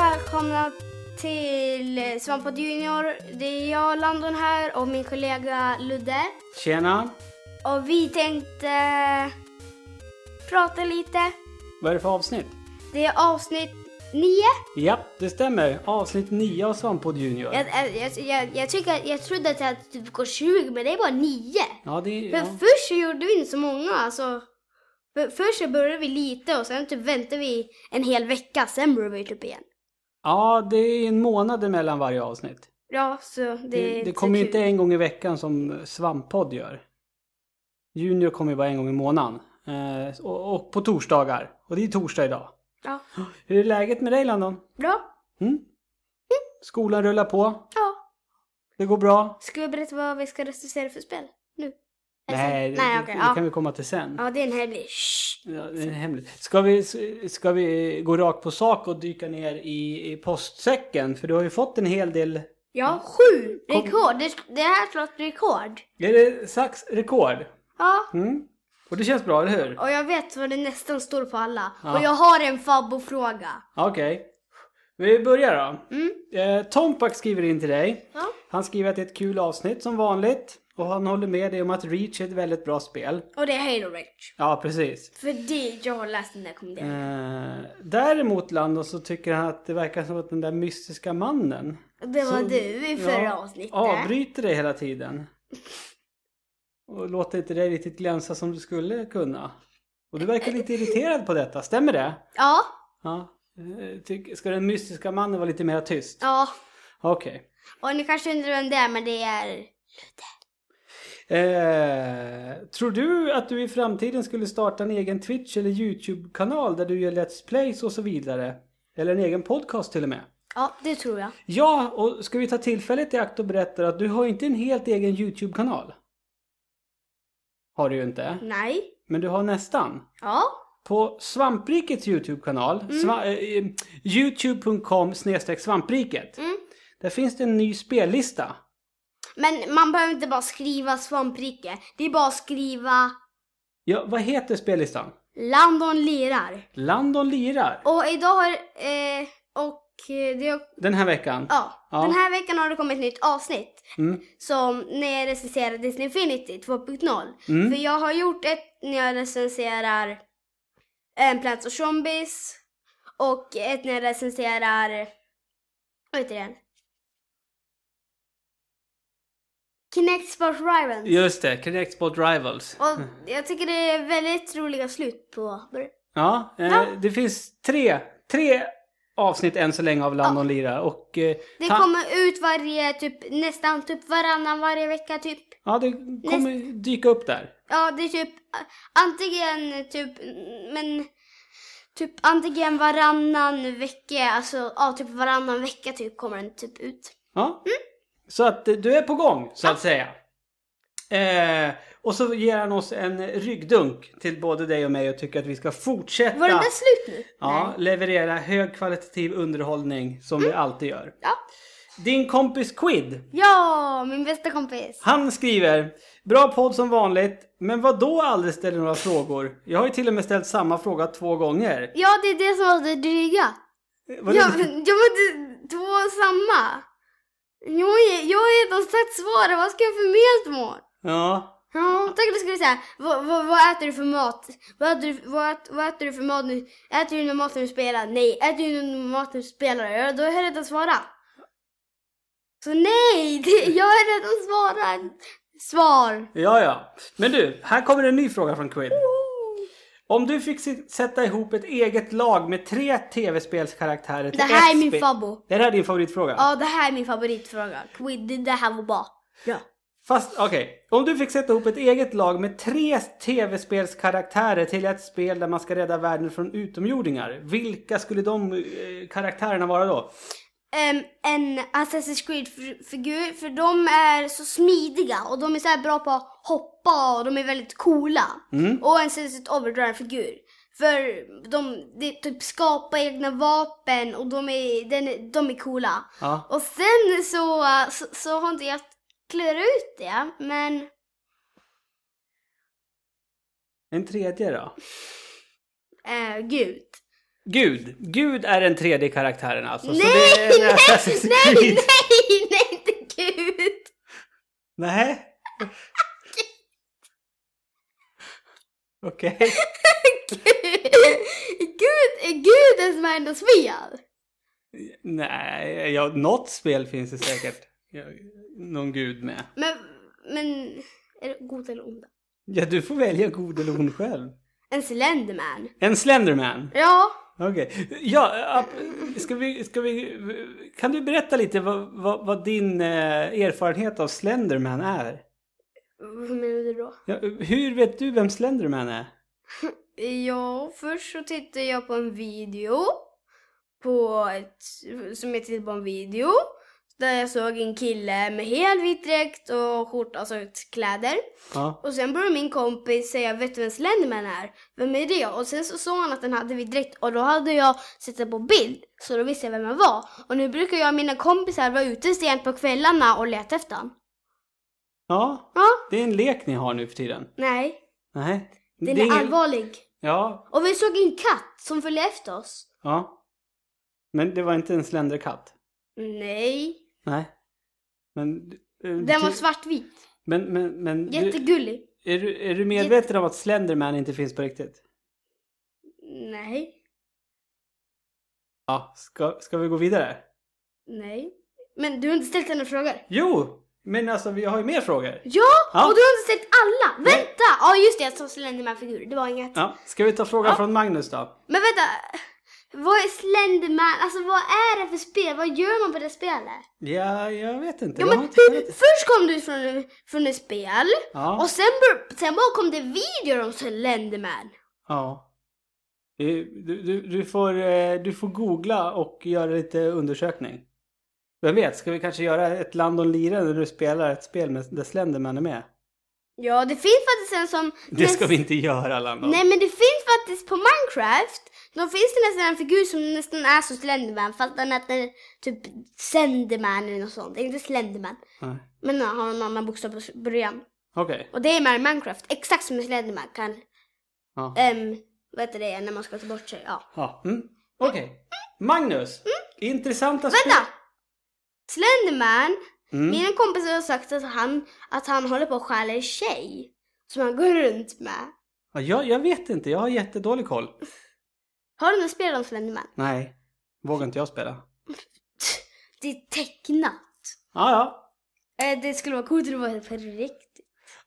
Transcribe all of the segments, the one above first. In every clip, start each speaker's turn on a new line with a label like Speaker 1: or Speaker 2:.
Speaker 1: välkomna till Svampad Junior. Det är jag, Landon här och min kollega Ludde.
Speaker 2: Tjena!
Speaker 1: Och vi tänkte prata lite.
Speaker 2: Vad är det för avsnitt?
Speaker 1: Det är avsnitt nio.
Speaker 2: Ja, det stämmer. Avsnitt 9 av Svamppodd Junior.
Speaker 1: Jag, jag, jag, jag, tycker, jag trodde att det typ går 20 men det är bara nio.
Speaker 2: Ja, det är...
Speaker 1: För
Speaker 2: Ja.
Speaker 1: först så gjorde vi inte så många alltså. För, först så började vi lite och sen typ väntade vi en hel vecka, sen började vi typ igen.
Speaker 2: ja, det är en månad mellan varje avsnitt.
Speaker 1: Ja, så det,
Speaker 2: Det,
Speaker 1: är
Speaker 2: det
Speaker 1: så
Speaker 2: kommer ju
Speaker 1: kul.
Speaker 2: inte en gång i veckan som Svamppodd gör. Junior kommer ju bara en gång i månaden. Eh, och, och på torsdagar. Och det är torsdag idag.
Speaker 1: Ja.
Speaker 2: Hur är läget med dig Landon?
Speaker 1: Bra.
Speaker 2: Mm? Skolan rullar på.
Speaker 1: Ja.
Speaker 2: Det går bra.
Speaker 1: Ska vi berätta vad vi ska recensera för spel? Nu? Eller sen?
Speaker 2: Nej,
Speaker 1: Alltså,
Speaker 2: det,
Speaker 1: Nej
Speaker 2: det,
Speaker 1: okej.
Speaker 2: det
Speaker 1: ja.
Speaker 2: kan vi komma till sen.
Speaker 1: ja, det är en hemlig. Shh.
Speaker 2: Ja, det är hemligt. Ska vi, ska vi gå rakt på sak och dyka ner i, i postsäcken? För du har ju fått en hel del...
Speaker 1: Ja, sju
Speaker 2: Kom.
Speaker 1: rekord. Det, det här slår ett rekord.
Speaker 2: Är det sax rekord?
Speaker 1: Ja.
Speaker 2: Mm. Och det känns bra, eller hur?
Speaker 1: Och jag vet vad det nästan står på alla.
Speaker 2: Ja.
Speaker 1: Och jag har en Fabbo-fråga.
Speaker 2: Okej. Vi börjar
Speaker 1: Mm.
Speaker 2: då. Eh, Tompak skriver in till dig.
Speaker 1: Ja.
Speaker 2: Han skriver att det är ett kul avsnitt som vanligt. Och han håller med dig om att Reach är ett väldigt bra spel.
Speaker 1: Och det är Halo Reach.
Speaker 2: Ja, precis.
Speaker 1: För det jag har läst den där kommentaren.
Speaker 2: Eh, däremot Landon så tycker han att det verkar som att den där mystiska mannen
Speaker 1: Det var
Speaker 2: som-
Speaker 1: du i förra avsnittet.
Speaker 2: Avbryter dig hela tiden. Och låter inte dig riktigt glänsa som du skulle kunna. Och du verkar lite irriterad på detta, stämmer det?
Speaker 1: Ja.
Speaker 2: Ja. Eh, tyck- Ska den mystiska mannen vara lite mer tyst?
Speaker 1: Ja.
Speaker 2: Okej.
Speaker 1: Och ni kanske undrar vem det är, men det är...
Speaker 2: Eh, tror du att du i framtiden skulle starta en egen Twitch eller YouTube-kanal där du gör Let's Plays och så vidare? Eller en egen podcast till och med?
Speaker 1: Ja, det tror jag.
Speaker 2: Ja, och ska vi ta tillfället i akt och berätta att du har inte en helt egen YouTube-kanal? Har du ju inte.
Speaker 1: Nej.
Speaker 2: Men du har nästan.
Speaker 1: Ja.
Speaker 2: På Svamprikets YouTube-kanal,
Speaker 1: Mm.
Speaker 2: sva- eh, eh, youtube.com svampriket,
Speaker 1: Mm.
Speaker 2: där finns det en ny spellista.
Speaker 1: Men man behöver inte bara skriva svamprike. Det är bara att skriva
Speaker 2: Ja, vad heter spellistan?
Speaker 1: Landon lirar.
Speaker 2: Landon lirar.
Speaker 1: Och idag har... Eh, och eh, det...
Speaker 2: Den här veckan.
Speaker 1: Ja.
Speaker 2: Ja.
Speaker 1: Den här veckan har det kommit ett nytt avsnitt.
Speaker 2: Mm.
Speaker 1: Som när jag recenserar Disney Infinity 2.0.
Speaker 2: Mm.
Speaker 1: För jag har gjort ett när jag recenserar eh, Plants och Zombies. Och ett när jag recenserar... Vad heter den? Kinect Sports Rivals.
Speaker 2: Just det, Connect Spot Rivals.
Speaker 1: Och jag tycker det är väldigt roliga slut på...
Speaker 2: Ja, eh,
Speaker 1: Ja.
Speaker 2: det finns tre, tre avsnitt än så länge av Landon lirar och... Eh,
Speaker 1: Det
Speaker 2: ta-
Speaker 1: kommer ut varje, typ nästan typ varannan varje vecka typ.
Speaker 2: Ja, det kommer dyka upp där.
Speaker 1: Ja, det är typ a- antingen typ, men typ antingen varannan vecka, alltså ja, typ varannan vecka typ kommer den typ ut.
Speaker 2: Ja. Så att eh, du är på gång så att säga. Eh, och så ger han oss en ryggdunk till både dig och mig och tycker att vi ska fortsätta
Speaker 1: Var den där slut nu?
Speaker 2: ja,
Speaker 1: Nej. Mm.
Speaker 2: leverera högkvalitativ underhållning som vi alltid gör.
Speaker 1: Ja.
Speaker 2: Din kompis Quid,
Speaker 1: ja, min bästa kompis.
Speaker 2: han skriver Bra podd som vanligt, men vad då aldrig ställer några frågor? Jag har ju till och med ställt samma fråga två gånger.
Speaker 1: Ja, det är det som var det dryga.
Speaker 2: Var det-
Speaker 1: Jag, jag var två samma. Jag, är- jag har redan sagt svaret, vad ska jag för mer svar?
Speaker 2: ja.
Speaker 1: Ja, tänk om du skulle säga, vad, vad, vad äter du för mat? Vad äter, du- vad, ät- vad äter du för mat nu? Äter du någon mat när du spelar? Nej. Äter du någon mat när du spelar? Ja, då har jag redan svarat. Så nej, det, jag har redan svarat. Svar.
Speaker 2: Ja, ja. Men du, här kommer en ny fråga från Quid. Om du fick si- sätta ihop ett eget lag med tre tv-spelskaraktärer till
Speaker 1: Det här
Speaker 2: ett
Speaker 1: är min
Speaker 2: spel-
Speaker 1: fabbo.
Speaker 2: Det här är din favoritfråga?
Speaker 1: Ja, det här är min favoritfråga. Quid, det- det här var bra. Ja.
Speaker 2: Fast okej, om du fick sätta ihop ett eget lag med tre tv-spelskaraktärer till ett spel där man ska rädda världen från utomjordingar. Vilka skulle de eh, karaktärerna vara då?
Speaker 1: Ehm, en Assassin's Creed-figur, för de är så smidiga och de är så här bra på att hoppa och de är väldigt coola.
Speaker 2: Mm.
Speaker 1: Och en Sunset Overdrive-figur. För de, de typ skapar egna vapen och de är, den, är- de är coola.
Speaker 2: Ja.
Speaker 1: Och sen så, äh, så, så har inte jag klurat ut det, men
Speaker 2: En tredje då?
Speaker 1: eh, gud.
Speaker 2: Gud. Gud är den tredje karaktären alltså.
Speaker 1: nej,
Speaker 2: så det är en
Speaker 1: nej,
Speaker 2: Assassin's
Speaker 1: nej,
Speaker 2: Creed.
Speaker 1: nej, nej, inte Gud!
Speaker 2: Nej. Okej.
Speaker 1: Gud är Gud är mindre spel.
Speaker 2: Nej, ja, något spel finns det säkert. Ja, Någon gud med.
Speaker 1: Men, men, är det god eller onda?
Speaker 2: Ja, du får välja god eller ond själv.
Speaker 1: En Slenderman.
Speaker 2: En Slenderman.
Speaker 1: Ja,
Speaker 2: Okej. Ja, ap- ska vi, ska vi... Kan du berätta lite vad, vad, vad din eh, erfarenhet av Slenderman är?
Speaker 1: vad menar du då?
Speaker 2: Ja, hur vet du vem Slenderman är?
Speaker 1: Ja, först så tittade jag på en video. På ett, som jag tittade på en video. Där jag såg en kille med hel vit dräkt och skjorta, alltså ett kläder.
Speaker 2: Ja.
Speaker 1: Och sen började min kompis säga, vet du vem Slenderman är? Vem är det? Och sen så såg han att den hade vit dräkt och då hade jag sett det på bild. Så då visste jag vem han var. Och nu brukar jag och mina kompisar vara ute sent på kvällarna och leta efter honom.
Speaker 2: Ja,
Speaker 1: Ja,
Speaker 2: det är en lek ni har nu för tiden.
Speaker 1: nej.
Speaker 2: Nej.
Speaker 1: Den
Speaker 2: det
Speaker 1: är,
Speaker 2: ingen-
Speaker 1: allvarlig.
Speaker 2: Ja,
Speaker 1: Och vi såg en katt som följde efter oss.
Speaker 2: ja. Men det var inte en Slenderkatt?
Speaker 1: Nej.
Speaker 2: Nej. Men... eh,
Speaker 1: Den var
Speaker 2: du-
Speaker 1: svartvit.
Speaker 2: Men, men, men du,
Speaker 1: Jättegullig.
Speaker 2: är, du, är du medveten om att Slenderman inte finns på riktigt?
Speaker 1: Nej.
Speaker 2: Ja, ska, ska vi gå vidare?
Speaker 1: Nej. Men du har inte ställt några frågor.
Speaker 2: Jo, men alltså vi har ju mer frågor.
Speaker 1: Ja!
Speaker 2: Ja.
Speaker 1: Och du har inte ställt alla!
Speaker 2: Nej.
Speaker 1: Vänta! Ja just det, jag sa Slenderman-figur. Det var inget.
Speaker 2: Ja, ska vi ta frågan
Speaker 1: Ja.
Speaker 2: från Magnus då?
Speaker 1: Men vänta! Vad är Slenderman? Alltså vad är det för spel? Vad gör man på det spelet?
Speaker 2: Ja, jag vet inte.
Speaker 1: Ja
Speaker 2: jag
Speaker 1: men
Speaker 2: har inte, jag
Speaker 1: hur,
Speaker 2: vet inte.
Speaker 1: först kom du från, från ett spel
Speaker 2: Ja,
Speaker 1: och sen, bör, sen bara kom det videor om Slenderman.
Speaker 2: ja. Du, du, du- du, får, eh, du får googla och göra lite undersökning. Vem vet, ska vi kanske göra ett land och lira när du spelar ett spel med, där Slenderman är med?
Speaker 1: Ja det finns faktiskt en som...
Speaker 2: Det ska vi inte göra, Landon.
Speaker 1: Nej men det finns faktiskt på Minecraft, då finns det nästan en figur som nästan är som Slenderman fast den heter typ Senderman eller något sånt. Inte Slenderman.
Speaker 2: Nej.
Speaker 1: Men den har en annan bokstav på s- början.
Speaker 2: Okej.
Speaker 1: Och det är med i Minecraft, exakt som i Slenderman kan,
Speaker 2: Ja.
Speaker 1: um, vad heter det, när man ska ta bort sig. Ja.
Speaker 2: Ja. Mm. Okej. Magnus. Intressanta spel.
Speaker 1: Mm. Vänta! Slenderman,
Speaker 2: Mm.
Speaker 1: mina kompisar har sagt att han, att han håller på att stjäla en tjej. Som han går runt med.
Speaker 2: Ja, jag, jag vet inte, jag har jättedålig koll.
Speaker 1: Har du något spel om Slenderman?
Speaker 2: Nej, vågar inte jag spela.
Speaker 1: Det är tecknat.
Speaker 2: Ja, ja.
Speaker 1: Eh, Det skulle vara coolt om det var på riktigt.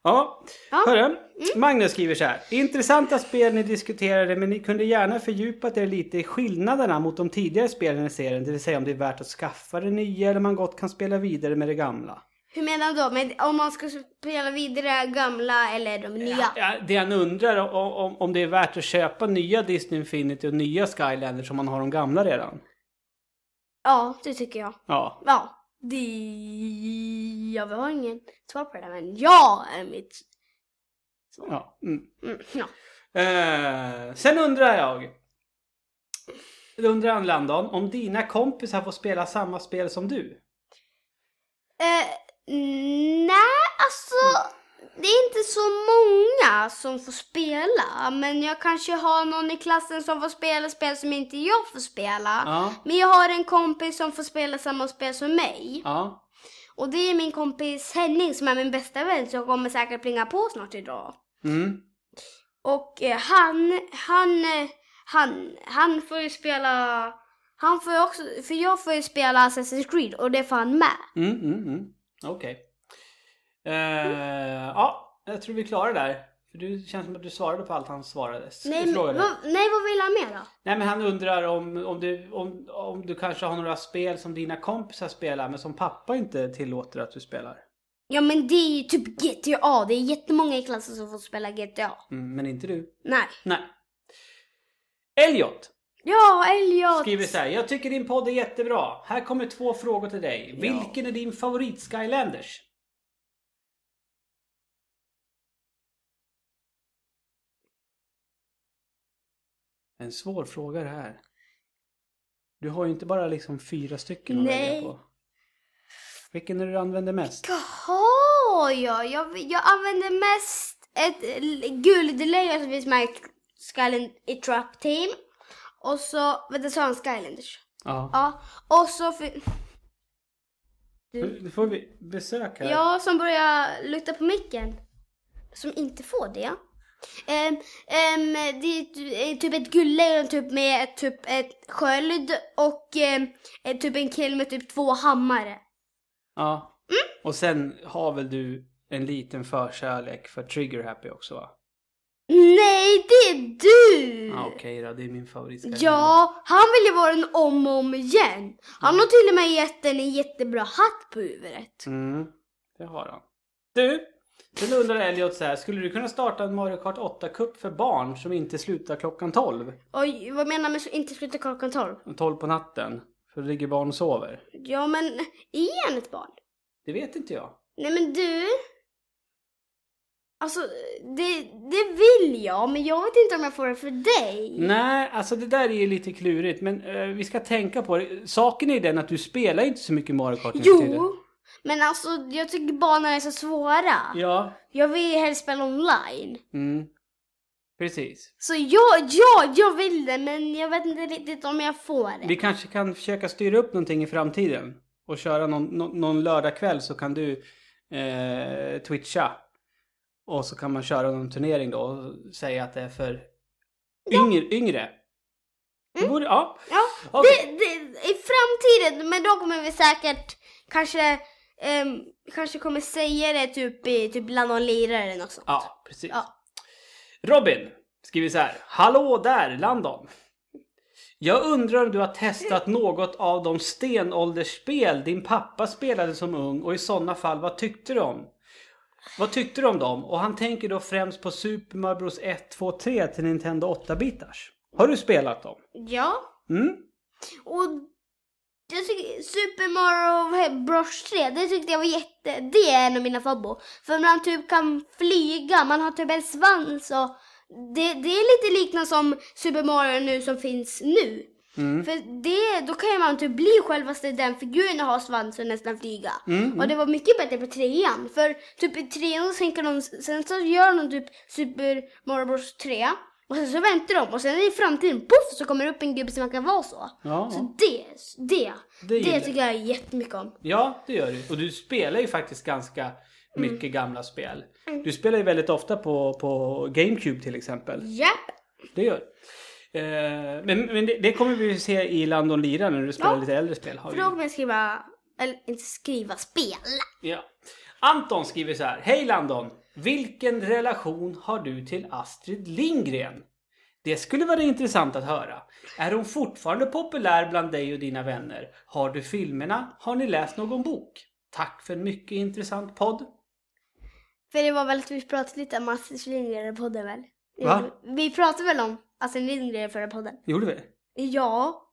Speaker 2: Ja,
Speaker 1: Ja. Mm.
Speaker 2: hörru. Magnus skriver så här. Intressanta spel ni diskuterade men ni kunde gärna fördjupat er lite i skillnaderna mot de tidigare spelen i serien. Det vill säga om det är värt att skaffa det nya eller man gott kan spela vidare med det gamla.
Speaker 1: Hur menar du då? Men om man ska spela vidare gamla eller de nya?
Speaker 2: Ja, det han undrar om, om, om det är värt att köpa nya Disney Infinity och nya Skylanders som man har de gamla redan.
Speaker 1: Ja, det tycker jag.
Speaker 2: Ja,
Speaker 1: Ja, det... Ja, vi har ingen svar på det där, men ja är mitt...
Speaker 2: ja. Mm.
Speaker 1: Mm, ja.
Speaker 2: Eh, sen undrar jag. Då undrar han Landon, om dina kompisar får spela samma spel som du?
Speaker 1: Eh, nej, alltså... Det är inte så många som får spela, men jag kanske har någon i klassen som får spela spel som inte jag får spela.
Speaker 2: Ja.
Speaker 1: Men jag har en kompis som får spela samma spel som mig.
Speaker 2: Ja.
Speaker 1: Och det är min kompis Henning som är min bästa vän som kommer säkert plinga på snart idag.
Speaker 2: Mm.
Speaker 1: Och eh, han, han, eh, han, han får ju spela, han får ju också, för jag får ju spela Assassin's Creed och det får han med.
Speaker 2: Mm, mm, mm. Okej. Eh, Ja, jag tror vi klarar där. För du känns som att du svarade på allt han svarade. S-
Speaker 1: Nej, men,
Speaker 2: frågade.
Speaker 1: vad, nej vad vill han mer då?
Speaker 2: Nej men han undrar om, om, du, om, om du kanske har några spel som dina kompisar spelar men som pappa inte tillåter att du spelar.
Speaker 1: Ja men det är ju typ GTA, det är jättemånga i klassen som får spela GTA.
Speaker 2: Mm, men inte du.
Speaker 1: Nej.
Speaker 2: Nej. Elliot.
Speaker 1: Ja, Elliot!
Speaker 2: Skriver så här, jag tycker din podd är jättebra. Här kommer två frågor till dig. Vilken är din favorit Skylanders? En svår fråga det här. Du har ju inte bara liksom fyra stycken att
Speaker 1: Nej.
Speaker 2: välja på. Vilken är det du använder mest?
Speaker 1: Jaha, ja, jag, jag använder mest ett l- guldlejon som finns med i Skyland i Trap Team. Och så, vänta sa han Skylanders?
Speaker 2: Ja.
Speaker 1: Ja. Och så fi- Du.
Speaker 2: Nu får vi besök här.
Speaker 1: Jag som börjar lukta på micken. Som inte får det. Ehm, ehm, det är ty- eh, typ ett guldlejon typ med ett- typ ett sköld och ehm, eh, typ en kille med typ två hammare.
Speaker 2: Ja.
Speaker 1: Mm.
Speaker 2: Och sen har väl du en liten förkärlek för Trigger Happy också va?
Speaker 1: Nej, det är du!
Speaker 2: Ja, Ah, Okej då, det är min favorit.
Speaker 1: Eh, Ja, han vill ju vara den om och om igen. Han har till och med gett den en jättebra hatt på huvudet.
Speaker 2: Mm, det har han. Du! Sen undrar Elliot så här, skulle du kunna starta en Mario Kart 8-cup för barn som inte slutar klockan 12?
Speaker 1: Oj, vad menar du med så- inte sluta klockan 12?
Speaker 2: 12 på natten? För då ligger barn och sover.
Speaker 1: Ja, men är han ett barn?
Speaker 2: Det vet inte jag.
Speaker 1: Nej men du. Alltså, det, det vill jag, men jag vet inte om jag får det för dig.
Speaker 2: Nej, alltså det där är ju lite klurigt men eh, vi ska tänka på det. Saken är den att du spelar inte så mycket Mario Kart nu för tiden.
Speaker 1: Jo, men alltså jag tycker banor är så svåra.
Speaker 2: Ja.
Speaker 1: Jag vill ju helst spela online.
Speaker 2: Mm. Precis.
Speaker 1: Så jag, ja, jag vill det, men jag vet inte riktigt om jag får det.
Speaker 2: Vi kanske kan försöka styra upp någonting i framtiden. Och köra någon, någon, någon lördagkväll så kan du eh, twitcha. Och så kan man köra någon turnering då och säga att det är för yngre. yngre. Det vore, ja.
Speaker 1: Ja,
Speaker 2: Okej.
Speaker 1: det, det, i framtiden, men då kommer vi säkert kanske, ehm, kanske kommer säga det typ, i, typ bland någon lirare eller något sånt.
Speaker 2: ja, precis.
Speaker 1: Ja.
Speaker 2: Robin skriver så här. Hallå där Landon. Jag undrar om du har testat något av de stenåldersspel din pappa spelade som ung och i sådana fall vad tyckte du om? Vad tyckte du om dem? Och han tänker då främst på Super Mario Bros 1, 2, 3 till Nintendo 8-bitars. Har du spelat dem?
Speaker 1: Ja.
Speaker 2: Mm?
Speaker 1: Och jag tycker Super Mario Bros 3, det tyckte jag var jätte, det är en av mina favorit. För man typ kan flyga, man har typ en svans och det, det är lite liknande som Super Mario nu som finns nu.
Speaker 2: Mm.
Speaker 1: För det, då kan ju man typ bli självaste den figuren och ha svans och nästan flyga.
Speaker 2: Mm.
Speaker 1: Och det var mycket bättre på trean. För typ i trean så tänker de, sen så gör de typ Super Mario Bros 3. Och sen så väntar de och sen i framtiden, poff, så kommer det upp en gubbe som man kan vara så.
Speaker 2: Ja,
Speaker 1: Så Alltså, det, det,
Speaker 2: Det
Speaker 1: det,
Speaker 2: gillar jag.
Speaker 1: tycker jag jättemycket om.
Speaker 2: ja, det gör du. Och du spelar ju faktiskt ganska mycket gamla spel. Du spelar ju väldigt ofta på, på GameCube till exempel.
Speaker 1: Japp.
Speaker 2: Det gör eh, Men, men det, det kommer vi ju se i Landon Lira när du spelar
Speaker 1: Ja.
Speaker 2: lite äldre spel. Har
Speaker 1: För
Speaker 2: vi.
Speaker 1: då kommer jag skriva, eller inte skriva, spela.
Speaker 2: Ja. Anton skriver så här. Hej Landon! Vilken relation har du till Astrid Lindgren? Det skulle vara intressant att höra. Är hon fortfarande populär bland dig och dina vänner? Har du filmerna? Har ni läst någon bok? Tack för en mycket intressant podd.
Speaker 1: För det var väl att vi pratade lite om Astrid Lindgren i podden väl?
Speaker 2: Va?
Speaker 1: Vi pratade väl om Astrid Lindgren i förra podden?
Speaker 2: Gjorde vi?
Speaker 1: Ja.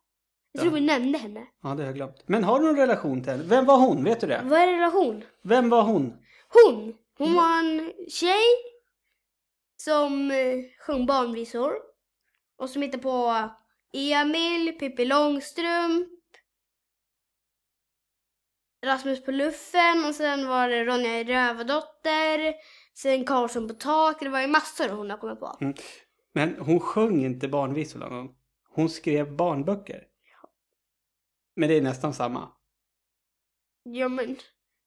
Speaker 1: Jag tror
Speaker 2: Ja.
Speaker 1: vi nämnde henne.
Speaker 2: Ja, det har jag glömt. Men har du någon relation till henne? Vem var hon? Vet du det?
Speaker 1: Vad är relation?
Speaker 2: Vem var hon?
Speaker 1: Hon! Hon var en tjej som eh, sjöng barnvisor. Och som hittade på Emil, Pippi Långstrump, Rasmus på luffen och sen var det Ronja Rövardotter, sen Karlsson på tak. Det var ju massor hon har kommit på.
Speaker 2: Mm. Men hon sjöng inte barnvisor Landon. Hon skrev barnböcker. Men det är nästan samma.
Speaker 1: Ja men,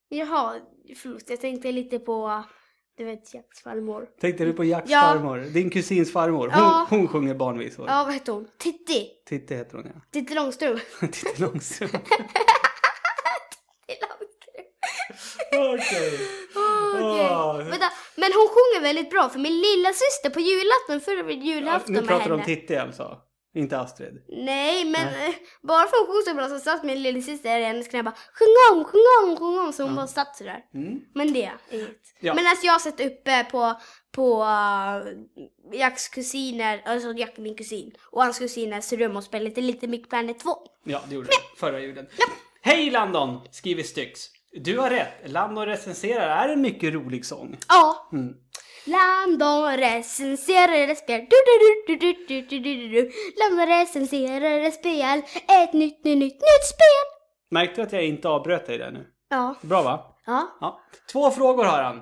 Speaker 1: jaha, förlåt jag tänkte lite på, du vet, Jacks farmor.
Speaker 2: Tänkte du på Jacks
Speaker 1: Ja.
Speaker 2: farmor? Din kusins farmor. Hon,
Speaker 1: Ja.
Speaker 2: hon sjunger barnvisor.
Speaker 1: Ja, vad hette hon? Titti!
Speaker 2: Titti heter hon ja.
Speaker 1: Titti Långstrump.
Speaker 2: Titti Långstrump.
Speaker 1: Titti Långstrump.
Speaker 2: Okej.
Speaker 1: Åh,
Speaker 2: Åh.
Speaker 1: gud. Vänta, men hon sjunger väldigt bra för min lilla syster på julafton, förra
Speaker 2: Ja,
Speaker 1: julafton
Speaker 2: nu
Speaker 1: med
Speaker 2: pratar du
Speaker 1: henne.
Speaker 2: om Titti alltså? Inte Astrid?
Speaker 1: Nej, men
Speaker 2: Nej.
Speaker 1: eh, bara för att hon sjöng så bra så satt min lilla syster i hennes knä och bara sjung om, sjung om, sjung om. Så hon bara satt sådär.
Speaker 2: Mm.
Speaker 1: Men det är inget.
Speaker 2: Ja.
Speaker 1: Men alltså jag har sett uppe på, på eh, Jacks kusiner, alltså Jack är min kusin, och hans kusiners rum och spelade lite Little Big Planet 2.
Speaker 2: Ja, det gjorde du. Förra julen. Hej Landon! Skriver Styx. Du har rätt. Landon recenserar är en mycket rolig sång.
Speaker 1: Ja.
Speaker 2: Mm.
Speaker 1: Landon recenserade spel. Du, du, du, du, du, du, du, du, du. Landon recenserade spel. Ett nytt, nytt, nytt, nytt spel.
Speaker 2: Märkte du att jag inte avbröt dig där nu?
Speaker 1: Ja.
Speaker 2: Bra va?
Speaker 1: Ja.
Speaker 2: Ja. Två frågor har han.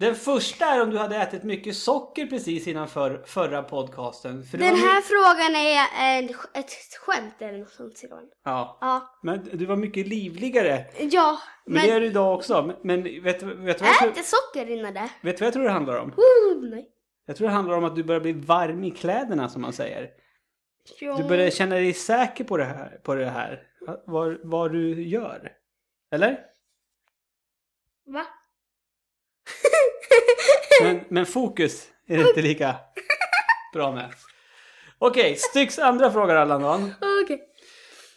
Speaker 2: Den första är om du hade ätit mycket socker precis innan för, förra podcasten. För det
Speaker 1: Den
Speaker 2: var my-
Speaker 1: här frågan är en, ett skämt eller något sånt. Simon.
Speaker 2: Ja,
Speaker 1: Ja,
Speaker 2: men du var mycket livligare.
Speaker 1: ja
Speaker 2: Men,
Speaker 1: men,
Speaker 2: det är du idag också. Men- Men vet, vet, du vad jag tror,
Speaker 1: ät socker innan det.
Speaker 2: vet du vad jag tror det handlar om?
Speaker 1: Oh, nej.
Speaker 2: Jag tror det handlar om att du börjar bli varm i kläderna som man säger.
Speaker 1: Ja.
Speaker 2: Du börjar känna dig säker på det här, på det här. Vad, vad du gör. Eller?
Speaker 1: Va?
Speaker 2: Men, men fokus är det inte lika bra med. Okej, Styx andra fråga Allan
Speaker 1: Okej.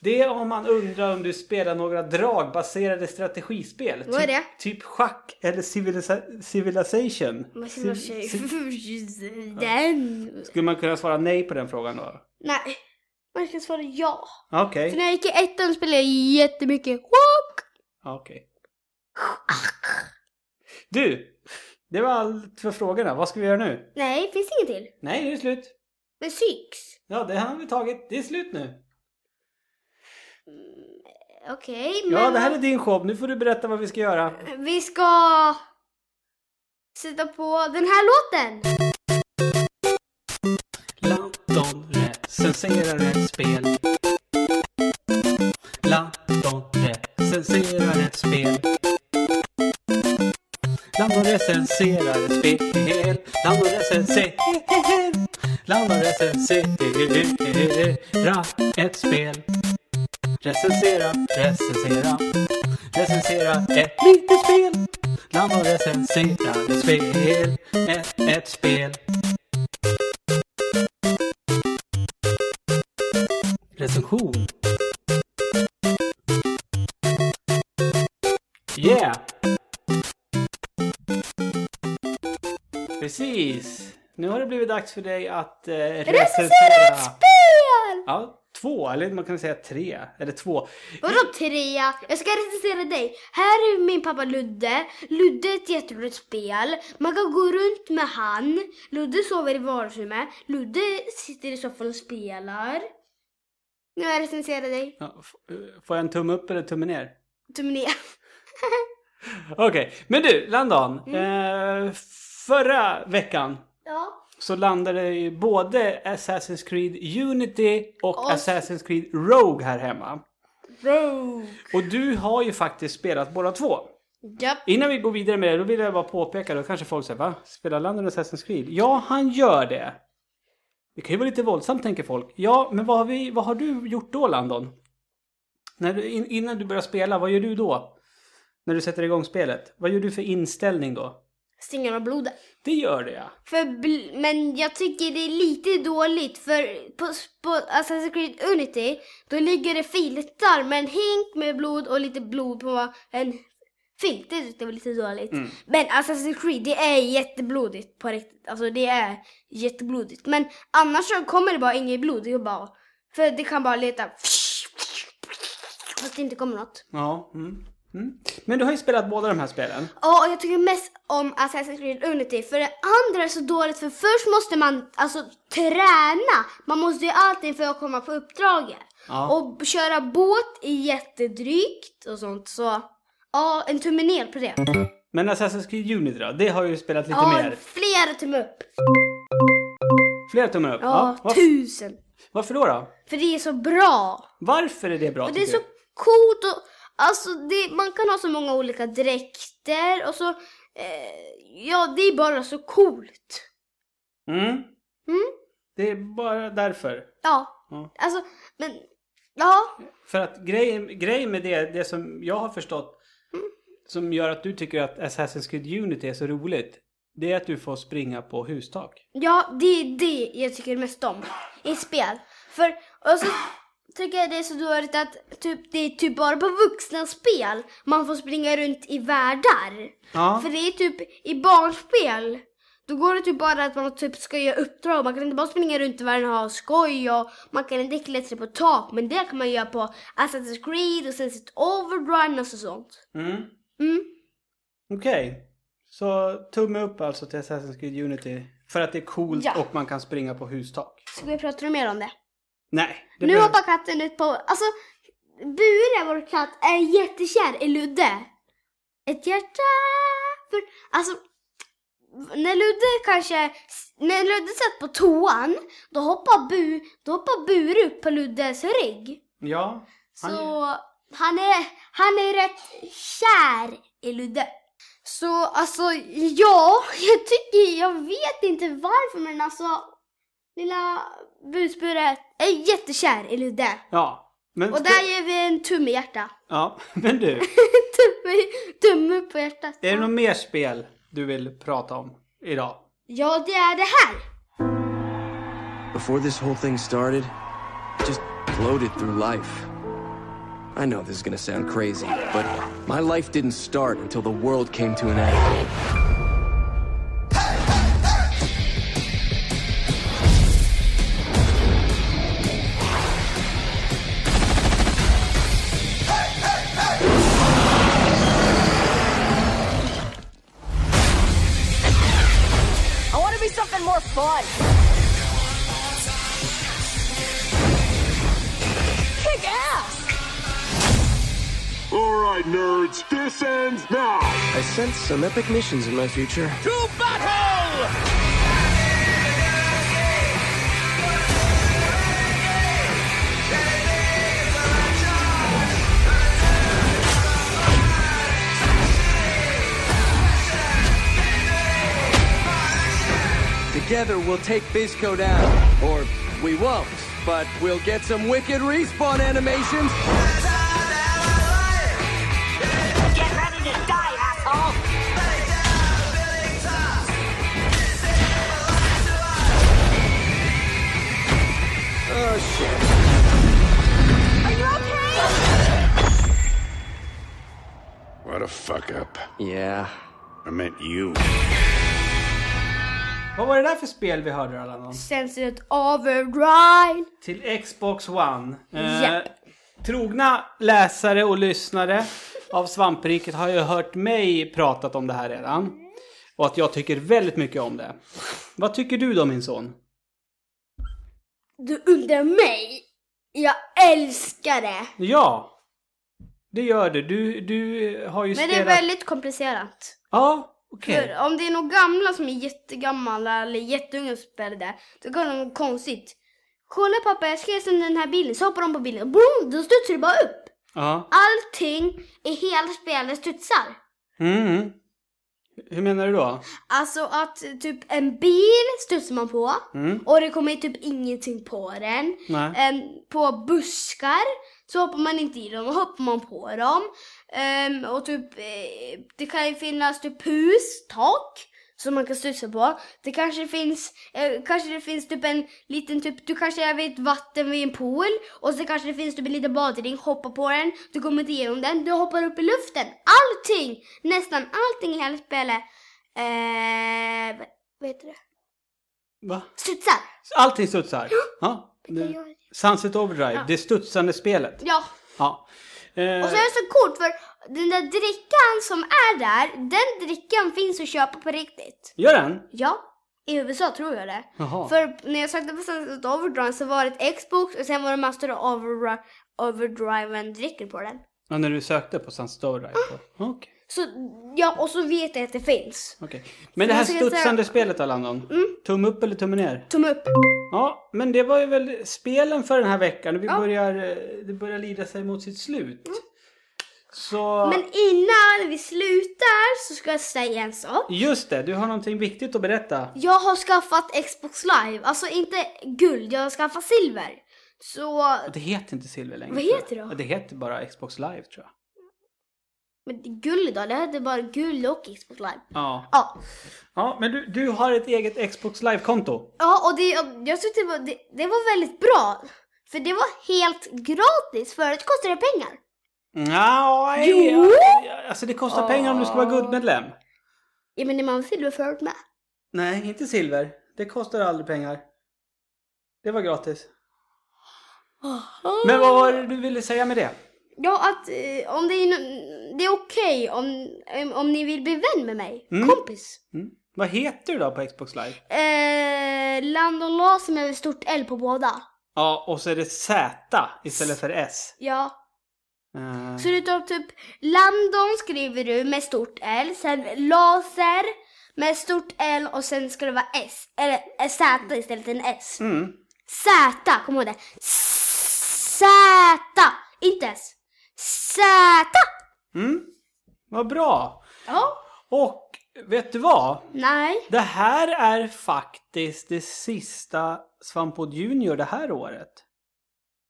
Speaker 2: Det är om man undrar om du spelar några dragbaserade strategispel.
Speaker 1: Vad är det?
Speaker 2: Typ, typ schack eller civiliza- civilization.
Speaker 1: Man ska
Speaker 2: Civ-
Speaker 1: vara tjej.
Speaker 2: civ-
Speaker 1: Den.
Speaker 2: Skulle man kunna svara nej på den frågan då?
Speaker 1: Nej. Man ska svara ja.
Speaker 2: Okej.
Speaker 1: För när jag gick i ettan spelade jag jättemycket walk.
Speaker 2: Okej. Du! Det var allt för frågorna. Vad ska vi göra nu?
Speaker 1: Nej, finns det inget till?
Speaker 2: Nej, nu är det slut.
Speaker 1: Men syx?
Speaker 2: Ja, det har vi tagit. Det är slut nu.
Speaker 1: Okej, men...
Speaker 2: Ja, det här är din show. Nu får du berätta vad vi ska göra.
Speaker 1: Vi ska sätta på den här låten.
Speaker 3: Latton recenserar ett spel. Latton recenserar ett spel. Latton recenserar ett spel. Latton recenserar... Latton recenserar ett spel. Recensera, recensera. Recensera ett litet spel. Latton recenserar ett spel. Ett, ett spel. recension. Yeah!
Speaker 2: Precis. Nu har det blivit dags för dig att eh,
Speaker 1: Recensera ett
Speaker 2: recensera.
Speaker 1: spel!
Speaker 2: Ja, två. Eller man kan säga tre. Eller två.
Speaker 1: Vadå trea? Jag ska recensera dig. Här är min pappa Ludde. Ludde är ett jätteroligt spel. Man kan gå runt med han. Ludde sover i vardagsrummet. Ludde sitter i soffan och spelar. Nu har jag recenserat dig.
Speaker 2: Ja, f- eh, får jag en tumme upp eller tumme ner?
Speaker 1: Tummen ner.
Speaker 2: Okej, men du Landon. Eh, förra veckan
Speaker 1: Ja.
Speaker 2: så landade ju både Assassin's Creed Unity och
Speaker 1: Och-
Speaker 2: Assassin's Creed Rogue här hemma.
Speaker 1: Rogue.
Speaker 2: Och du har ju faktiskt spelat båda två.
Speaker 1: Japp.
Speaker 2: Innan vi går vidare med det, då vill jag bara påpeka, då kanske folk säger va? Spelar Landon Assassin's Creed? Ja, han gör det. Det kan ju vara lite våldsamt tänker folk. Ja, men vad har, vi, vad har du gjort då Landon? När du, in, innan du börjar spela, vad gör du då? När du sätter igång spelet? Vad gör du för inställning då?
Speaker 1: Stingarna och blodet.
Speaker 2: Det gör det ja.
Speaker 1: För, bl- men jag tycker det är lite dåligt för på, på Assassin's Creed Unity då ligger det filtar med en hink med blod och lite blod på en filt. Det tyckte jag var lite dåligt. Men Assassin's Creed det är jätteblodigt på riktigt. Alltså det är jätteblodigt. Men annars så kommer det bara inget blod. Det är bara, för det kan bara leta fast det inte kommer något.
Speaker 2: Ja. Mm. Mm. Men du har ju spelat båda de här spelen.
Speaker 1: Ja, och jag tycker mest om Assassin's Creed Unity. För det andra är så dåligt, för först måste man alltså träna. Man måste ju allting för att komma på uppdraget.
Speaker 2: Ja.
Speaker 1: Och köra båt är jättedrygt och sånt. Så ja, en tumme ner på det.
Speaker 2: Men Assassin's Creed Unity då? Det har ju spelat lite
Speaker 1: ja,
Speaker 2: mer.
Speaker 1: flera tummar upp.
Speaker 2: Fler tummar upp?
Speaker 1: Ja,
Speaker 2: Varf-
Speaker 1: tusen.
Speaker 2: Varför då, då?
Speaker 1: För det är så bra.
Speaker 2: Varför är det bra
Speaker 1: Och det är
Speaker 2: tycker
Speaker 1: så
Speaker 2: du?
Speaker 1: coolt och alltså det, man kan ha så många olika dräkter och så, eh, ja det är bara så coolt.
Speaker 2: Mm.
Speaker 1: Mm.
Speaker 2: Det är bara därför.
Speaker 1: Ja,
Speaker 2: Ja.
Speaker 1: alltså men ja.
Speaker 2: För att grejen, grejen med det, det som jag har förstått
Speaker 1: Mm.
Speaker 2: som gör att du tycker att Assassin's Creed Unity är så roligt. Det är att du får springa på hustak.
Speaker 1: Ja, det är det jag tycker mest om i spel. För, och så tycker jag det är så dåligt att typ, det är typ bara på vuxna spel man får springa runt i världar.
Speaker 2: Ja,
Speaker 1: För det är typ i barnspel, då går det typ bara att man typ ska göra uppdrag. Man kan inte bara springa runt i världen och ha skoj och man kan inte klättra på tak. Men det kan man göra på Assassin's Creed och sen sitt Overrun och så sånt.
Speaker 2: mm.
Speaker 1: Mm.
Speaker 2: okej. Så tumme upp alltså till Assassin's Creed Unity. För att det är coolt
Speaker 1: Ja.
Speaker 2: och man kan springa på hustak.
Speaker 1: Ska vi prata mer om det?
Speaker 2: Nej. Det
Speaker 1: Nu
Speaker 2: behöver-
Speaker 1: hoppar katten ut på... Alltså, Bure, vår katt, är jättekär i Ludde. Ett hjärta för... Alltså, när Ludde kanske, när Ludde satt på toan, då hoppar Bu, då hoppar Bure upp på Luddes rygg.
Speaker 2: Ja. Han-
Speaker 1: Så han är, han är rätt kär i Ludde. Så alltså, ja, jag tycker, jag vet inte varför men alltså, lilla busburet är jättekär i Ludde.
Speaker 2: Ja. Men,
Speaker 1: Och där ger vi en tumme i hjärta.
Speaker 2: ja. men du,
Speaker 1: tumme, tumme upp på hjärtat.
Speaker 2: är det något mer spel du vill prata om idag?
Speaker 1: Ja, det är det här.
Speaker 4: Before this whole thing started, just floated through life. I know this is gonna sound crazy, but my life didn't start until the world came to an end.
Speaker 5: I want to be something more fun. Kick ass!
Speaker 6: All right, nerds, this ends now.
Speaker 4: I sense some epic missions in my future. Together we'll take Bisco down. Or we won't, but we'll get some wicked respawn animations.
Speaker 5: Get ready to die, asshole!
Speaker 4: Oh shit.
Speaker 5: Are you okay?
Speaker 6: What a fuck up.
Speaker 4: Yeah.
Speaker 6: I meant you.
Speaker 2: Vad var det där för spel vi hörde Allan?
Speaker 1: Censored override.
Speaker 2: Till Xbox One. Eh,
Speaker 1: Japp.
Speaker 2: Trogna läsare och lyssnare av Svampriket har ju hört mig pratat om det här redan. Och att jag tycker väldigt mycket om det. Vad tycker du då min son?
Speaker 1: Du undrar mig? Jag älskar det.
Speaker 2: Ja, det gör du. Du, du har ju
Speaker 1: Men det är
Speaker 2: spelat...
Speaker 1: väldigt komplicerat.
Speaker 2: Ja, okej.
Speaker 1: För om det är några gamla som är jättegamla eller jätteunga som spelar det, då kan det vara konstigt. Kolla pappa, jag skrev som den här bilden, så hoppar de på bilden, boom, då studsar det bara upp.
Speaker 2: Ja.
Speaker 1: Allting i hela spelet studsar.
Speaker 2: Mm. Hur menar du då?
Speaker 1: Alltså att eh, typ en bil studsar man på och det kommer typ ingenting på den.
Speaker 2: Nej.
Speaker 1: Em, på buskar så hoppar man inte i dem och hoppar man på dem. Em, och typ eh, det kan ju finnas typ hus, tak som man kan studsa på. Det kanske finns, eh, kanske det finns typ en liten typ, du kanske är vid ett vatten vid en pool och så kanske det finns typ en liten badring, hoppa på den, du kommer inte igenom den, du hoppar upp i luften. Allting, nästan allting i hela spelet Eh, vad- vad heter det?
Speaker 2: Va?
Speaker 1: Studsar!
Speaker 2: Allting studsar. Ja.
Speaker 1: kan jag-
Speaker 2: Sunset Overdrive, det studsande spelet.
Speaker 1: Ja,
Speaker 2: Ja. Eh,
Speaker 1: och så är det så coolt för den där drickan som är där, den drickan finns att köpa på riktigt.
Speaker 2: Gör den?
Speaker 1: Ja, i USA tror jag det.
Speaker 2: Jaha.
Speaker 1: För när jag sökte på Sunset Overdrive så var det ett Xbox och sen var det massor av Overdrive, overdrive en dricker på den.
Speaker 2: Ja, när du sökte på Sunset Overdrive?
Speaker 1: Ah.
Speaker 2: Okej.
Speaker 1: Så, ja, och så vet jag att det finns.
Speaker 2: okej. Men det här
Speaker 1: jag ska säga- Mm.
Speaker 2: studsande spelet då, Landon? Tumme upp eller tumme ner?
Speaker 1: Tumme upp!
Speaker 2: Ja, men det var ju väl spelen för den här veckan. Vi börjar, eh, det börjar lida sig mot sitt slut. Så...
Speaker 1: Mm. Men innan vi slutar så ska jag säga en sak.
Speaker 2: Just det, du har någonting viktigt att berätta.
Speaker 1: Jag har skaffat Xbox live, alltså inte guld, jag har skaffat silver. Så,
Speaker 2: Det heter inte silver längre.
Speaker 1: Vad
Speaker 2: tror jag.
Speaker 1: heter det då?
Speaker 2: Ja, Det heter bara Xbox Live tror jag.
Speaker 1: men det är guld då, det hette bara guld och Xbox live.
Speaker 2: Ja.
Speaker 1: Ja,
Speaker 2: Ja, men du, du har ett eget Xbox Live-konto.
Speaker 1: ja och det, jag tyckte det var, det, det var väldigt bra. För det var helt gratis, förut kostade det pengar.
Speaker 2: Nja,
Speaker 1: Jo!
Speaker 2: ja, Alltså det kostar pengar om du ska vara guldmedlem.
Speaker 1: Ja men man var silver förut med.
Speaker 2: Nej, inte silver. Det kostar aldrig pengar. Det var gratis. Men vad var det du ville säga med det?
Speaker 1: Ja att eh, om det är, nå- det är okej om, om, om ni vill bli vän med mig,
Speaker 2: Mm.
Speaker 1: kompis.
Speaker 2: Vad heter du då på Xbox Live?
Speaker 1: Eh, Landon Larsson med stort L på båda.
Speaker 2: Ja, och så är det Z istället för S.
Speaker 1: Ja.
Speaker 2: Eh,
Speaker 1: Så du tar typ Landon skriver du med stort L, sen laser, Med stort L och sen ska det vara S. Eller eh, Z istället för en S.
Speaker 2: Mm.
Speaker 1: Z, kom ihåg det. Z, inte S. Z.
Speaker 2: Mm. Vad bra!
Speaker 1: Ja.
Speaker 2: Och vet du vad?
Speaker 1: Nej.
Speaker 2: Det här är faktiskt det sista Svampod Junior det här året.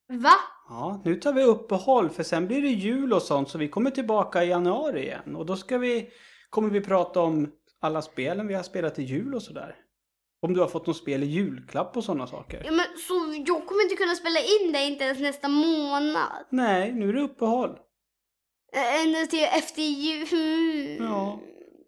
Speaker 1: Va?
Speaker 2: Ja, nu tar vi uppehåll för sen blir det jul och sånt så vi kommer tillbaka i januari igen. Och då ska vi, kommer vi prata om alla spelen vi har spelat i jul och sådär. Om du har fått något spel i julklapp och sådana saker.
Speaker 1: Ja, men så jag kommer inte kunna spela in det inte ens nästa månad.
Speaker 2: Nej, nu är det uppehåll.
Speaker 1: Eh, Ända till efter jul.
Speaker 2: Ja.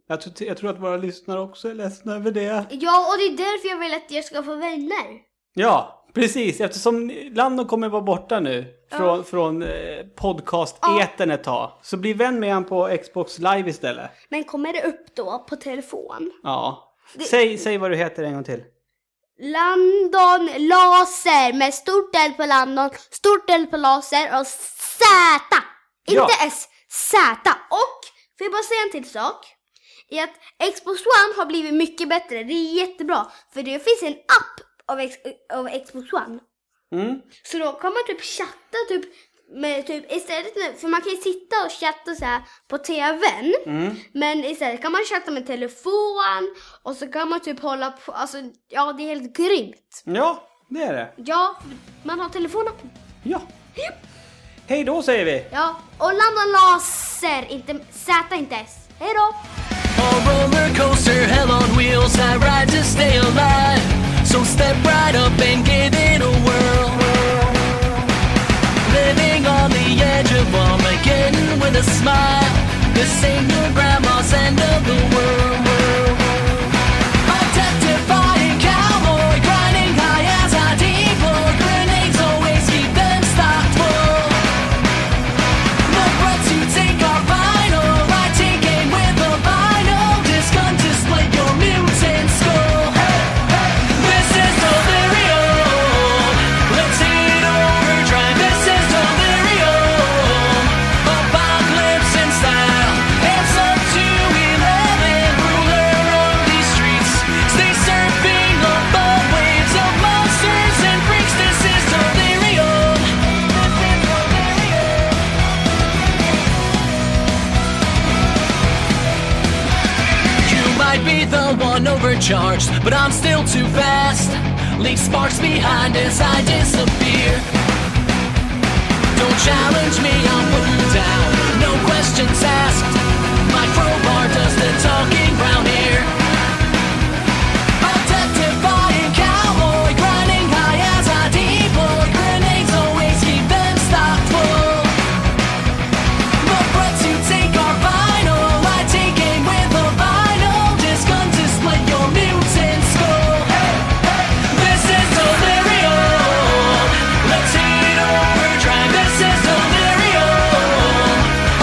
Speaker 2: Jag, tror- jag tror att våra lyssnare också är ledsna över det.
Speaker 1: Ja, och det är därför jag vill att jag ska få vänner.
Speaker 2: Ja, precis. Eftersom Lando kommer vara borta nu från, från eh, podcast-eten ett tag. Så bli vän med han på Xbox live istället.
Speaker 1: Men kommer det upp då på telefon?
Speaker 2: Ja.
Speaker 1: Det-
Speaker 2: Säg, säg vad du heter en gång till.
Speaker 1: Landon Laser med stort L på Landon, stort L på Laser och Z. Inte
Speaker 2: Ja.
Speaker 1: S, Z. Och, får jag bara säga en till sak? Är att Xbox One har blivit mycket bättre, det är jättebra. För det finns en app av, X, av Xbox One.
Speaker 2: Mm.
Speaker 1: Så då kan man typ chatta typ med typ istället nu- för man kan ju sitta och chatta så här på tvn. Men istället kan man chatta med telefon och så kan man typ hålla på, alltså ja det är helt grymt.
Speaker 2: Ja, det är det.
Speaker 1: Ja, man har telefonappen.
Speaker 2: Ja. Hej då säger vi.
Speaker 1: Ja, och landa laser, inte Z, inte S. Hej då!
Speaker 7: A roller coaster, hell on wheels, I ride to stay alive. So step right up and give it a whirl. Living on the edge of Armageddon with a smile. This ain't your grandma's end of the world. A testifying cowboy, grinding high as I deploy. Grenades always keep them stocked full. The breaths you take are vinyl. I take aim with a vinyl disc gun to split your mutant skull. This is delirium. Let's hit overdrive. This is delirium. Apocalypse in style. It's up to eleven. Ruler of these streets. Stay surfing above waves of monsters and freaks. This is delirium. This is delirium. You might be the one overcharged, but I'm still too fast. Leave sparks behind as I disappear. Don't challenge me, I'll put you down. No questions asked. My crowbar does the talking round here. A testifying cowboy, grinding high as I deploy. Grenades always keep them stocked full. The breaths you take are vinyl. I take aim with a vinyl disc gun to split your mutant skull. This is delirium. Let's hit overdrive. This is delirium.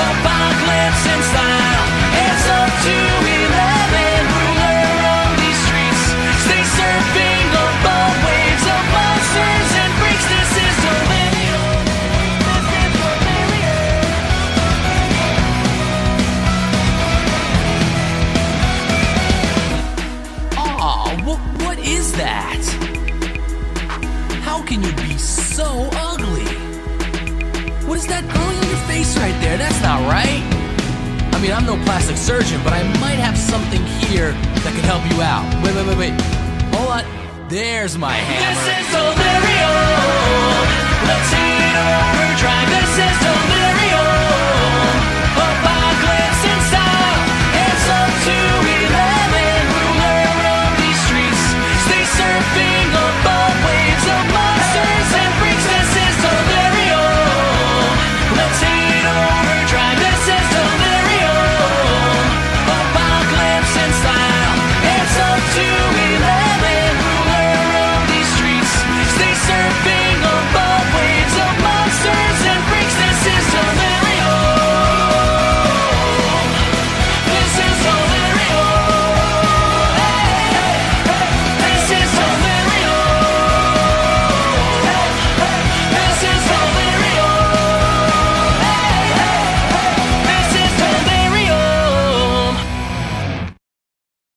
Speaker 7: Apocalypse in style. It's up to eleven. Ruler of these streets. Stay surfing above waves of monsters and freaks. This is delirium. This is delirium. Aw, what, what is that? How can you be so ugly? What is that growing on your face right there? That's not right. I mean, I'm no plastic surgeon, but I might have something here that could help you out. Wait, wait, wait, wait. Hold on. There's my hammer. This is delirium.